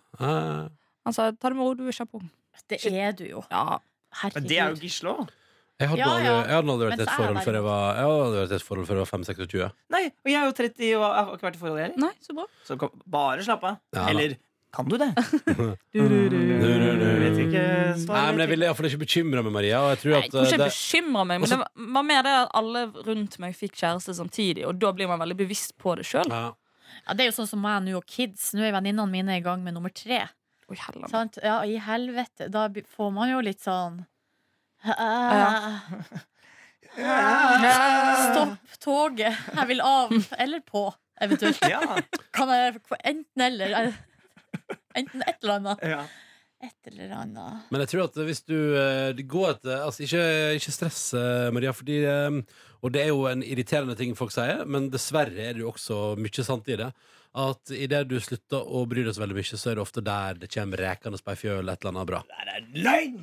Speaker 5: Han sa ta det med ro, du er kjempeung.
Speaker 3: Det
Speaker 5: Shit.
Speaker 3: er du jo.
Speaker 5: Ja.
Speaker 2: Men det er jo
Speaker 3: Herregud.
Speaker 2: Gisle òg.
Speaker 4: Jeg hadde
Speaker 3: Ja,
Speaker 4: aldri,
Speaker 3: ja.
Speaker 4: jeg hadde aldri vært i
Speaker 3: Men
Speaker 4: et
Speaker 3: så er
Speaker 4: forhold
Speaker 3: det-
Speaker 4: før jeg var Jeg hadde aldri vært i et forhold før jeg var 5-26.
Speaker 2: Nei, og jeg er jo 30 og har ikke vært i forhold, jeg heller.
Speaker 5: Nei, så bra.
Speaker 2: Så kom, bare slapp av.
Speaker 4: Ja, da.
Speaker 2: Eller kan du det?
Speaker 5: Du,
Speaker 4: Du, du,
Speaker 5: du,
Speaker 4: du.
Speaker 2: Vet ikke
Speaker 4: Nei, men
Speaker 2: svaret.
Speaker 4: jeg ville iallfall ikke bekymre meg, Maria. Og jeg tror
Speaker 5: Nei,
Speaker 4: at
Speaker 5: jeg tror ikke
Speaker 4: eh,
Speaker 5: jeg bekymrer meg, men
Speaker 4: Også-
Speaker 5: det var- var mer det at alle rundt meg fikk kjæreste samtidig, og da blir man veldig bevisst på det sjøl.
Speaker 4: det, ja.
Speaker 3: Ja, det er jo sånn som meg nå og kids. Nå er venninnene mine i gang med nummer tre. Sant? Ja, i helvete. Da be- får man jo litt sånn Stopp toget. Jeg vil av. Eller på, eventuelt.
Speaker 2: Ja,
Speaker 3: Kan jeg Enten eller. eh, Enten et eller annet.
Speaker 2: ja.
Speaker 3: Et eller annet.
Speaker 4: Men jeg tror at hvis du eh, det går etter Altså, ikke, ikke stress, eh, Maria, fordi eh, Og det er jo en irriterende ting folk sier, men dessverre er det jo også mye sant i det. At idet du slutter å bry deg så veldig mye, så er det ofte der det kommer rekende på ei fjøl et eller annet bra.
Speaker 2: Det er løgn!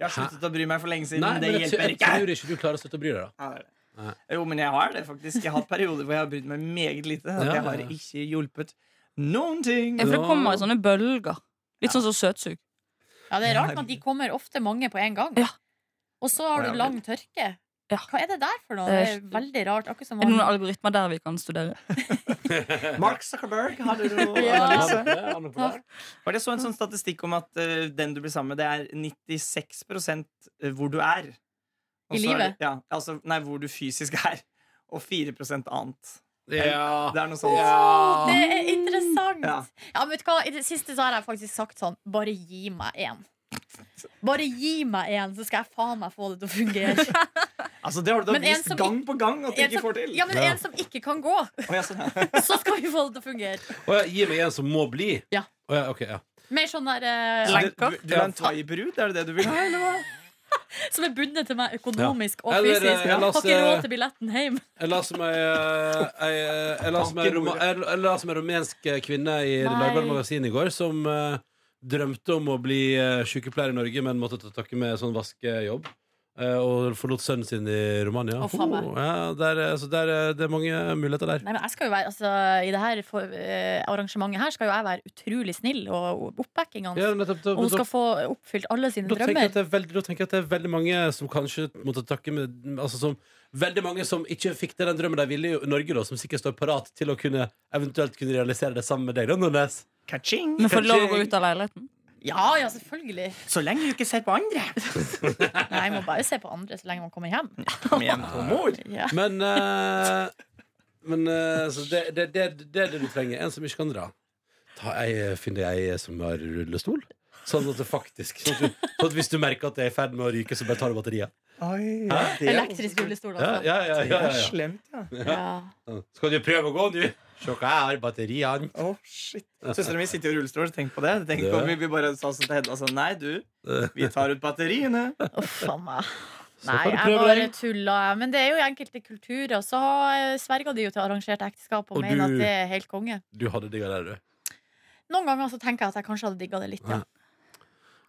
Speaker 2: Jeg har sluttet å bry meg for lenge siden.
Speaker 4: Nei,
Speaker 2: det
Speaker 4: men jeg,
Speaker 2: hjelper
Speaker 4: jeg
Speaker 2: ikke.
Speaker 4: tror ikke du klarer å slutte å bry deg, da.
Speaker 2: Ja, det er det.
Speaker 4: Nei.
Speaker 2: Jo, men jeg har det faktisk. Jeg har hatt perioder hvor jeg har brydd meg meget lite. At
Speaker 4: Ja,
Speaker 2: jeg har
Speaker 4: ja.
Speaker 2: ikke hjulpet noen ting.
Speaker 5: Ja, for det kommer i sånne bølger. Litt sånn som søtsug.
Speaker 3: Ja, Det er rart at de kommer ofte mange på en gang.
Speaker 5: Ja.
Speaker 3: Og så har du lang tørke.
Speaker 5: Ja.
Speaker 3: Hva er det der for noe? Det
Speaker 5: Det er-
Speaker 3: er veldig rart. Akkurat som
Speaker 5: Er det noen
Speaker 3: han
Speaker 5: algoritmer der vi kan studere?
Speaker 2: Mark Zuckerberg, har du noe
Speaker 3: Ja.
Speaker 2: analyse?
Speaker 4: Ja, ja, noe på det.
Speaker 2: Var det så en sånn statistikk om at eh, den du blir sammen med, det er 96 hvor du er. Og så
Speaker 3: I
Speaker 2: er
Speaker 3: livet?
Speaker 2: det- Ja, altså, nei, hvor du fysisk er. Og 4 annet.
Speaker 4: Ja.
Speaker 2: Det er noe sånt.
Speaker 4: Ja.
Speaker 3: Det er interessant! Ja.
Speaker 2: Ja.
Speaker 3: men vet du hva? I det siste så har jeg faktisk sagt sånn Bare gi meg én. Bare gi meg én, så skal jeg faen meg få det til å fungere.
Speaker 2: Altså, det har du da
Speaker 3: Men en
Speaker 2: vist
Speaker 3: som
Speaker 2: gang på gang at du
Speaker 3: En
Speaker 2: ikke
Speaker 3: som,
Speaker 2: får til.
Speaker 3: ja, men
Speaker 4: Ja.
Speaker 3: en som ikke kan gå.
Speaker 2: Å, ja, sånn, ja.
Speaker 3: Så skal vi få det til å fungere.
Speaker 4: Å ja, gi meg en som må bli?
Speaker 3: Ja.
Speaker 4: Å ja, ok, ja.
Speaker 3: Mer sånn der eh,
Speaker 2: Så Du,
Speaker 5: Lenker.
Speaker 2: du, du er en thaibrud? Er det det du vil ha? Eller hva?
Speaker 3: som er bundet til meg økonomisk og
Speaker 4: Eller, eh,
Speaker 3: fysisk. Jeg
Speaker 4: la
Speaker 3: har
Speaker 4: oss,
Speaker 3: ikke
Speaker 4: eh,
Speaker 3: råd til billetten hjem.
Speaker 4: Jeg la som ei eh, ei, eh, Jeg la som ei roma- jeg- jeg la som ei rumensk eh, kvinne i
Speaker 3: Nei.
Speaker 4: Dagbladet Magasin i går som eh, drømte om å bli eh, sykepleier i Norge, men måtte ta takke med sånn vaskejobb. eh, og forlot sønnen sin i Romania.
Speaker 3: Å, faen meg.
Speaker 4: Oh, ja, der, eh, så der, eh, det er mange muligheter der.
Speaker 3: Nei, men jeg skal jo være, altså, I det her for, eh, arrangementet her skal jo jeg være utrolig snill og oppbacking hans.
Speaker 4: Ja, nettopp, da,
Speaker 3: og hun
Speaker 4: da,
Speaker 3: skal få oppfylt alle sine
Speaker 4: da, tenker jeg
Speaker 3: drømmer.
Speaker 4: at det er veldig, da tenker jeg at det er veldig mange som kanskje måtte takke med altså som, Veldig mange som ikke fikk til den drømmen de ville i Norge, da, som sikkert står parat til å kunne eventuelt kunne realisere det sammen med deg. Da, Nordnes.
Speaker 2: Kaching,
Speaker 5: Men får du lov å
Speaker 2: kaching.
Speaker 5: gå ut av leiligheten?
Speaker 3: Ja, ja, selvfølgelig.
Speaker 2: Så lenge du ikke ser på andre.
Speaker 3: Nei, Man må bare se på andre så lenge man kommer hjem.
Speaker 2: Kom igjen, Tomor.
Speaker 3: Ja.
Speaker 4: Men, eh, men eh, så det, det, det, det er det du trenger. En som ikke kan dra. Ta ei, finn deg ei som har rullestol. Sånn at det faktisk sånn at, du, sånn at Hvis du merker at det er i ferd med å ryke, så bare tar du batteriet.
Speaker 2: Oi,
Speaker 3: Elektrisk rullestol,
Speaker 4: Ja,
Speaker 3: altså.
Speaker 4: ja, ja,
Speaker 2: Det
Speaker 4: ja,
Speaker 2: er
Speaker 4: ja,
Speaker 2: slemt, ja.
Speaker 3: Ja.
Speaker 4: ja. Skal du prøve å gå, du? Se hva jeg har batteri av.
Speaker 2: Å, shit. Søstera mi sitter jo i rullestol, så tenk på det. Tenk på om vi bare sa sånn til Hedda sånn Nei, du, vi tar ut batteriene.
Speaker 3: Uff a meg.
Speaker 4: Så
Speaker 3: Nei,
Speaker 4: får du
Speaker 3: jeg
Speaker 4: prøve
Speaker 3: bare
Speaker 4: deg.
Speaker 3: tulla. jeg. Men det er jo i enkelte kulturer. Så har- eh, sverger de jo til arrangerte ekteskap og,
Speaker 4: Og
Speaker 3: mener
Speaker 4: du-
Speaker 3: at det er helt konge.
Speaker 4: Du hadde digga der, du.
Speaker 3: Noen ganger så tenker jeg at jeg kanskje hadde digga det litt. Ja.
Speaker 4: Ja.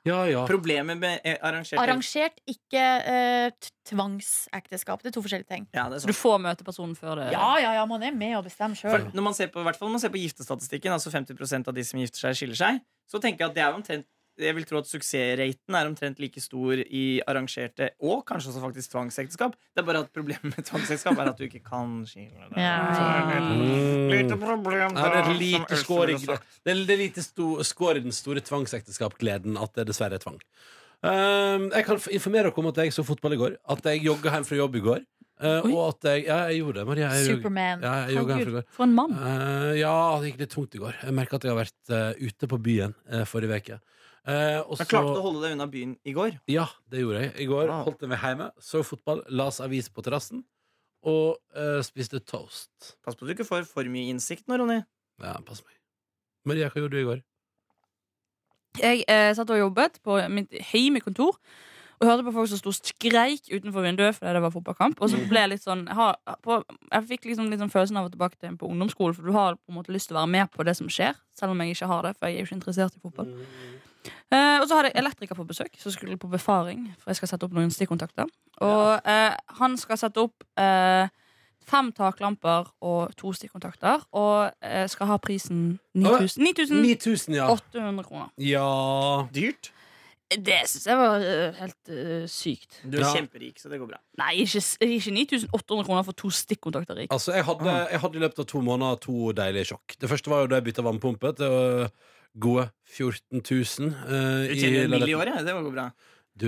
Speaker 4: Ja, ja.
Speaker 2: Problemet med eh, arrangert
Speaker 3: Arrangert, ikke eh, t- tvangsekteskap. Det er to forskjellige ting.
Speaker 2: ja, det er
Speaker 5: Så du
Speaker 2: sånn.
Speaker 5: får møte personen før det?
Speaker 3: Ja, ja, ja, man er med og bestemmer sjøl.
Speaker 2: For når man ser på, i hvert fall når man ser på giftestatistikken, altså 50 av de som gifter seg, skiller seg, så tenker jeg at det er omtrent jeg vil tro at suksessraten er omtrent like stor i arrangerte og kanskje også faktisk tvangsekteskap. Det er bare at problemet med tvangsekteskap er at du ikke kan skille deg.
Speaker 3: Ja.
Speaker 2: Lite
Speaker 4: Mm.
Speaker 2: problem
Speaker 4: Ja, det er
Speaker 2: da,
Speaker 4: et lite
Speaker 2: som
Speaker 4: skår i,
Speaker 2: Ørsted ville sagt.
Speaker 4: det er- det er lite sto, skår i den store tvangsekteskapsgleden at det dessverre er tvang. Ehm, jeg kan f- informere dere om at jeg så fotball i går. At jeg jogga hjem fra jobb i går. eh,
Speaker 5: Oi.
Speaker 4: og at jeg Ja, jeg gjorde det. Maria, jeg jog-
Speaker 3: Superman.
Speaker 4: Ja, jeg jogga hjem fra i går.
Speaker 5: Herregud, for en mann.
Speaker 4: Eh, ja, det gikk litt tungt i går. Jeg merker at jeg har vært eh, ute på byen eh, forrige uke. Eh, og
Speaker 2: Men klarte du
Speaker 4: så-
Speaker 2: å holde deg unna byen i går?
Speaker 4: Ja, det gjorde jeg. I går
Speaker 2: Wow.
Speaker 4: holdt jeg meg hjemme, så fotball, las avis på terrassen. og eh, spiste toast.
Speaker 2: Pass på at du ikke får for mye innsikt nå, Ronny.
Speaker 4: Ja, pass meg. Maria, hva gjorde du i går?
Speaker 5: Jeg eh, satt og jobbet på mitt hjemmekontor og hørte på folk som sto og skreik utenfor vinduet fordi det var fotballkamp. Og så ble jeg litt sånn Jeg, har, på, jeg fikk liksom litt sånn følelsen av å tilbake til på ungdomsskolen, for du har på en måte lyst til å være med på det som skjer, selv om jeg ikke har det, for jeg er jo ikke interessert i fotball. Eh, og så hadde jeg elektriker på besøk, som skulle på befaring, for jeg skal sette opp noen stikkontakter. Og eh, han skal sette opp eh, fem taklamper og to stikkontakter, og eh, skal ha prisen 9000
Speaker 2: Mm.
Speaker 5: 9800
Speaker 4: 9000, ja.
Speaker 5: kroner.
Speaker 4: Ja
Speaker 2: Dyrt.
Speaker 5: Det syns jeg var øh, helt øh, sykt.
Speaker 2: Du er
Speaker 4: Ja.
Speaker 2: kjemperik, så det går bra.
Speaker 5: Nei, ikke, s- ikke 9800 kroner for to stikkontakter. Rik.
Speaker 4: Altså, jeg hadde, jeg hadde i løpet av to måneder to deilige sjokk. Det første var jo da jeg bytta vannpumpe til øh, gode 14 000. øh, i
Speaker 2: Du tjener en mill. i
Speaker 4: leiligheten.
Speaker 2: året. Det går bra.
Speaker 4: Du,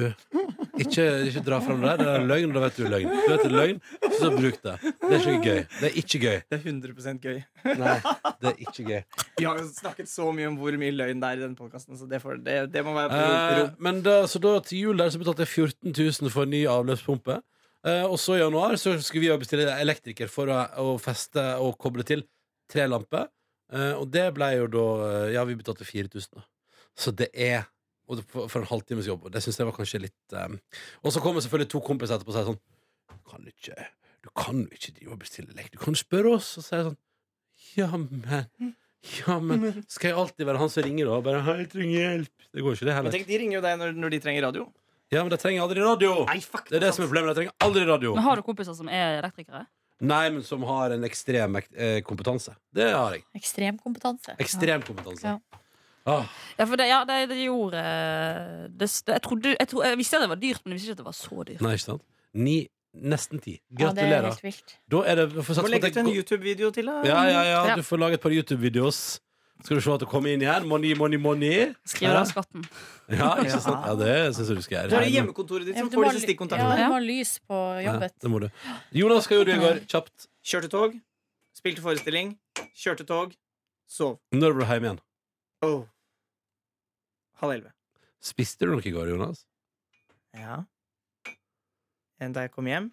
Speaker 4: ikke, ikke dra fram det der. Det er løgn, og da vet du løgn. Du vet det er løgn, så bruk det. Det er ikke gøy. Det er ikke gøy.
Speaker 2: Det er 100 gøy.
Speaker 4: Nei, det er ikke gøy.
Speaker 2: Vi har jo snakket så mye om hvor mye løgn det er i denne podkasten, så det, får, det, det må være på
Speaker 4: Eh,
Speaker 2: rom.
Speaker 4: men da, så da til jul der så betalte jeg 14 000 for en ny avløpspumpe. Eh, og så i januar så skulle vi jo bestille elektriker for å, å feste og koble til tre lamper. Eh, og det ble jo da eh, Ja, vi betalte 4000, da. Så det er og det, for, for en halvtimes jobb. Og det syns jeg var kanskje litt eh, Og så kommer selvfølgelig to kompiser etterpå og sier sånn Du kan ikke Du kan jo ikke drive og bestille elektriker. Du kan jo spørre oss. Og så er det sånn Jammen. Jammen. Skal jeg alltid være han som ringer da? og Bare 'Hei, jeg trenger hjelp'. Det går ikke, det heller.
Speaker 2: Men tenk, de ringer jo deg når, når de trenger radio.
Speaker 4: Ja, men de trenger aldri radio.
Speaker 2: Nei, fuck altså.
Speaker 4: Det er det som er problemet. De trenger aldri radio.
Speaker 5: Men Har du kompiser som er elektrikere?
Speaker 4: Nei, men som har en ekstrem eh, kompetanse. Det har jeg.
Speaker 3: Ekstremkompetanse.
Speaker 4: Ekstrem kompetanse.
Speaker 3: Ja.
Speaker 4: Ah,
Speaker 5: Ja, for det, ja, det, det gjorde øh, det, s- det, jeg, trodde, jeg, tro, jeg visste at det var dyrt, men jeg visste ikke at det var så dyrt.
Speaker 4: nei, ikke sant? Ni, nesten ti.
Speaker 3: Ja, det er
Speaker 4: Gratulerer.
Speaker 3: helt vilt.
Speaker 4: Da er det for
Speaker 2: Må legge ut en
Speaker 4: går-
Speaker 2: YouTube-video til, da.
Speaker 4: ja, ja, ja,
Speaker 5: Ja.
Speaker 4: du får lage et par YouTube-videos. Skal du se at du kommer inn igjen? Money, money, money.
Speaker 5: Skriver
Speaker 4: ja.
Speaker 5: av skatten.
Speaker 4: Ja, ikke sant? Ja, det syns jeg du skal
Speaker 2: Du har
Speaker 4: gjøre.
Speaker 2: det hjemmekontoret ditt
Speaker 3: Ja,
Speaker 2: som
Speaker 3: men du
Speaker 2: får
Speaker 3: må
Speaker 2: disse
Speaker 3: ha ly- Ja,
Speaker 2: stikkontaktene.
Speaker 3: du må ha lys på
Speaker 4: Ja,
Speaker 3: jobbet.
Speaker 4: det må du. Jonas, hva gjorde du i går? Kjapt.
Speaker 2: Kjørte tog, spilte forestilling, kjørte tog, sov.
Speaker 4: Når ble du hjemme igjen?
Speaker 2: Oh. Halv elleve.
Speaker 4: Spiste du noe i går, Jonas?
Speaker 2: Ja. En Da jeg kom hjem,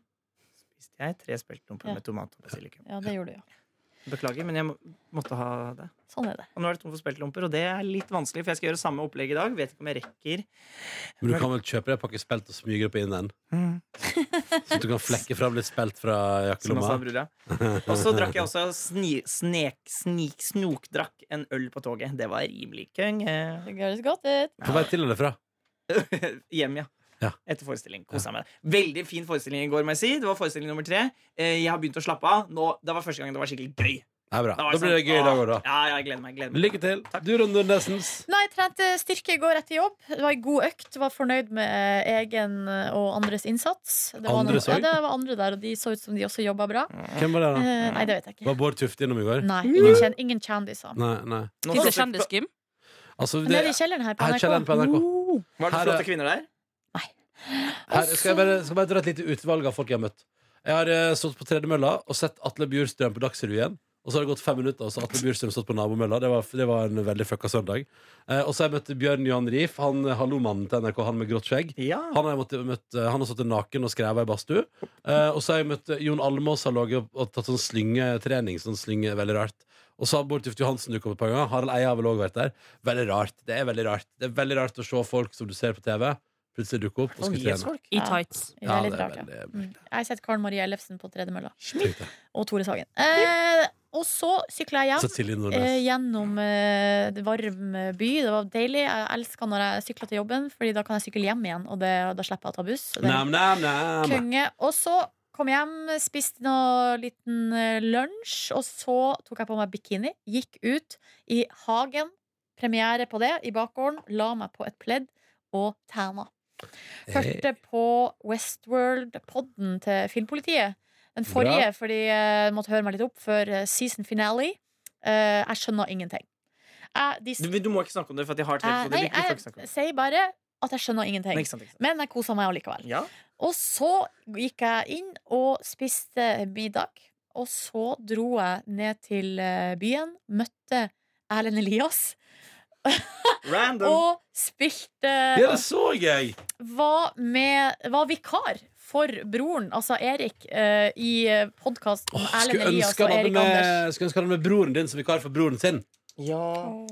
Speaker 2: spiste jeg tre speltdumper
Speaker 3: Ja.
Speaker 2: med tomat og basilikum.
Speaker 3: Ja, det gjorde du, ja.
Speaker 2: Beklager, men jeg må, måtte ha det.
Speaker 3: Sånn er det.
Speaker 2: Og nå er det tom for speltlomper, og det er litt vanskelig, for jeg skal gjøre samme opplegg i dag. Vet ikke om jeg rekker.
Speaker 4: Men du kan vel kjøpe deg en pakke spelt og smyge det på innen? Mm. Så sånn du kan flekke fram litt spelt fra
Speaker 2: Som han sa,
Speaker 4: jakkelomma.
Speaker 2: brura. Og så drakk jeg også sni, snek, snik, snokdrakk en øl på toget. Det var rimelig konge.
Speaker 3: Det høres godt ut.
Speaker 4: På vei til eller fra?
Speaker 2: eh, Hjem, ja.
Speaker 4: Ja.
Speaker 2: Etter forestilling. Kosa meg. Veldig fin forestilling i går, må jeg si. Det var forestilling nummer tre. Eh, Jeg har begynt å slappe av. Nå, det var første gang det var skikkelig gøy.
Speaker 4: Det er bra.
Speaker 2: var
Speaker 4: Da blir det
Speaker 2: sånn,
Speaker 4: gøy i dag
Speaker 2: «Åh,
Speaker 4: òg, da.
Speaker 2: Ja, ja, jeg gleder meg. Gleder meg.
Speaker 4: Lykke til. Du, Ronny Nesens.
Speaker 3: Nei, trente styrke i går etter jobb. Det var en god økt. Var fornøyd med eh, egen og andres innsats. Det var,
Speaker 4: Andres
Speaker 3: ja,
Speaker 4: òg?
Speaker 3: det var andre der, og de så ut som de også jobba bra.
Speaker 2: Mm.
Speaker 4: Hvem var det, da?
Speaker 3: Eh, nei, det vet jeg ikke.
Speaker 4: Var Bård Tufte innom i går?
Speaker 3: Nei, ingen, kjen, ingen kjendiser.
Speaker 4: Nei. nei.
Speaker 2: Nå
Speaker 5: Fins
Speaker 2: satser vi
Speaker 5: det
Speaker 2: på-
Speaker 5: kjendisgym?
Speaker 4: Altså, det,
Speaker 3: Nede i kjelleren her på
Speaker 4: her
Speaker 3: NRK. Oh.
Speaker 4: kjelleren på NRK.
Speaker 2: Var det
Speaker 4: Her er-
Speaker 2: flotte kvinner der?
Speaker 4: Her, skal, jeg bare, skal jeg bare dra et lite utvalg av folk jeg har møtt. Jeg har eh, stått på tredemølla og sett Atle Bjurstrøm på Dagsrevyen. Og så har det gått fem minutter, og så har Atle Bjurstrøm stått på nabomølla. Det var, det var en veldig fucka søndag. Eh, og så har jeg møtt Bjørn Johan Riif, han eh, hallomannen til NRK, han med grått skjegg.
Speaker 2: Ja.
Speaker 4: Han har, jeg måttet, møtt, eh, han har stått naken og skrevet i badstue. Eh, og så har jeg møtt Jon Almaas har laget og tatt sånn slyngetrening. Sånn slynge, veldig rart. Og så har Bård Tufte Johansen dukket opp et par ganger. Harald Eia har vel også vært der. Veldig rart. Det er veldig rart Det er veldig rart å se folk som du ser på TV, plutselig dukke opp og skal trene.
Speaker 2: Nyhetsfolk.
Speaker 5: I
Speaker 3: Ja.
Speaker 5: tights.
Speaker 3: Det er litt
Speaker 4: det er
Speaker 3: rart, ja.
Speaker 4: veldig-
Speaker 3: Mm. Jeg har sett Karen Marie Ellefsen på tredemølla.
Speaker 4: Tenk det.
Speaker 3: Og Tore Sagen. Eh, og så sykla jeg
Speaker 4: Så
Speaker 3: hjem.
Speaker 4: Silje
Speaker 3: Eh,
Speaker 4: Nordnes.
Speaker 3: gjennom eh, det varm by. Det var deilig. Jeg elska når jeg sykla til jobben, Fordi da kan jeg sykle hjem igjen, og det, da slipper jeg å ta buss. Så Det er
Speaker 4: Nam, nam, nam.
Speaker 3: Konge. Og så kom jeg hjem, spiste noe liten eh, lunsj, og så tok jeg på meg bikini, gikk ut i hagen, premiere på det, i bakgården, la meg på et pledd og tæna.
Speaker 2: Eh.
Speaker 3: Hørte på Westworld-podden til Filmpolitiet. Den forrige,
Speaker 4: Bra.
Speaker 3: fordi jeg måtte høre meg litt opp før eh, season finale. Eh, jeg skjønner ingenting. Jeg, de,
Speaker 2: Du, du må ikke snakke om det, for at jeg har et
Speaker 3: jeg,
Speaker 2: helt sånt
Speaker 3: nei,
Speaker 2: øyeblikk. Du får ikke snakke om
Speaker 3: jeg sier bare at jeg skjønner
Speaker 2: det. Nei,
Speaker 3: ingenting.
Speaker 2: ikke sant, ikke sant.
Speaker 3: Men jeg kosa meg allikevel.
Speaker 2: Ja.
Speaker 3: Og så gikk jeg inn og spiste middag. Og så dro jeg ned til eh, byen, møtte Erlend Elias
Speaker 2: Random.
Speaker 3: og spilte
Speaker 4: Ja, det så jeg!
Speaker 3: Var med Var vikar for broren, altså Erik, eh, i podkasten Erlend
Speaker 4: skulle
Speaker 3: Elias
Speaker 4: ønske
Speaker 3: og
Speaker 4: han hadde
Speaker 3: Erik Anders.
Speaker 4: med, skulle ønske han hadde med broren din som vikar for broren sin.
Speaker 2: Ja.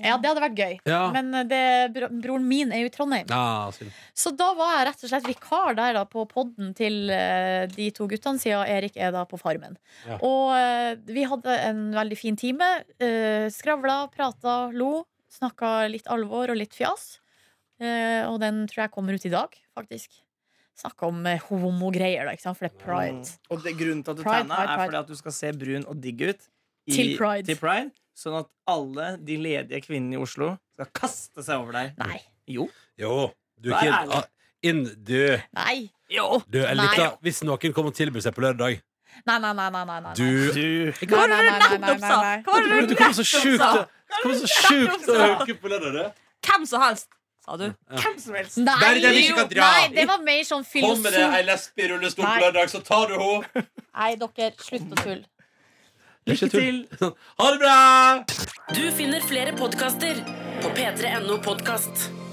Speaker 3: Ja, det hadde vært gøy.
Speaker 4: Ja.
Speaker 3: Men eh, det, bro- broren min er jo i Trondheim.
Speaker 4: Ah, synd.
Speaker 3: Så da var jeg rett og slett vikar der da på podden til eh, de to guttene, siden Erik er da på Farmen.
Speaker 4: Ja.
Speaker 3: Og eh, vi hadde en veldig fin time. Eh, skravla, prata, lo. Snakka litt alvor og litt fjas. Eh, og den tror jeg kommer ut i dag, faktisk. Snakka om eh, homogreier, da, ikke sant? for det er pride.
Speaker 4: Mm.
Speaker 2: Mm. Og det, grunnen til at du
Speaker 3: Pride,
Speaker 2: tegna,
Speaker 3: pride,
Speaker 2: er
Speaker 3: pride.
Speaker 2: fordi at du skal se brun og digg ut i-
Speaker 3: Til Pride.
Speaker 2: til Pride. Sånn at alle de ledige kvinnene i Oslo skal kaste seg over deg.
Speaker 3: Nei.
Speaker 2: Jo.
Speaker 4: Jo, du er
Speaker 2: Vær
Speaker 4: ikke
Speaker 2: ærlig.
Speaker 4: ah, inn, du.
Speaker 3: Nei.
Speaker 5: Jo.
Speaker 4: Du, jeg
Speaker 3: Nei.
Speaker 4: liker Hvis noen kommer og tilbyr seg på lørdag
Speaker 3: Nei, nei, nei, nei, nei, nei.
Speaker 4: Du
Speaker 2: Du
Speaker 3: Nei, nei, nei, nei, nei,
Speaker 5: Nettopp, sa
Speaker 3: nei, nei.
Speaker 5: Hva var det
Speaker 4: Du
Speaker 5: du
Speaker 4: kommer så sjukt
Speaker 5: sa?
Speaker 4: Du kommer så sjukt å
Speaker 5: sa?
Speaker 4: hooke på lørdag, du.
Speaker 5: Hvem som helst, sa du.
Speaker 2: Hvem som helst.
Speaker 4: Der er det vi ikke
Speaker 3: Nei,
Speaker 4: kan dra.
Speaker 3: nei, det var mer sånn
Speaker 4: Kommer det ei
Speaker 3: filosofi.
Speaker 4: lesbe i rullestol på
Speaker 3: Nei.
Speaker 4: lørdag, så tar du henne.
Speaker 3: Nei, dere, slutt å tulle.
Speaker 2: Lykke til.
Speaker 4: Ha det bra!
Speaker 1: Du finner flere podkaster på p3.no podkast.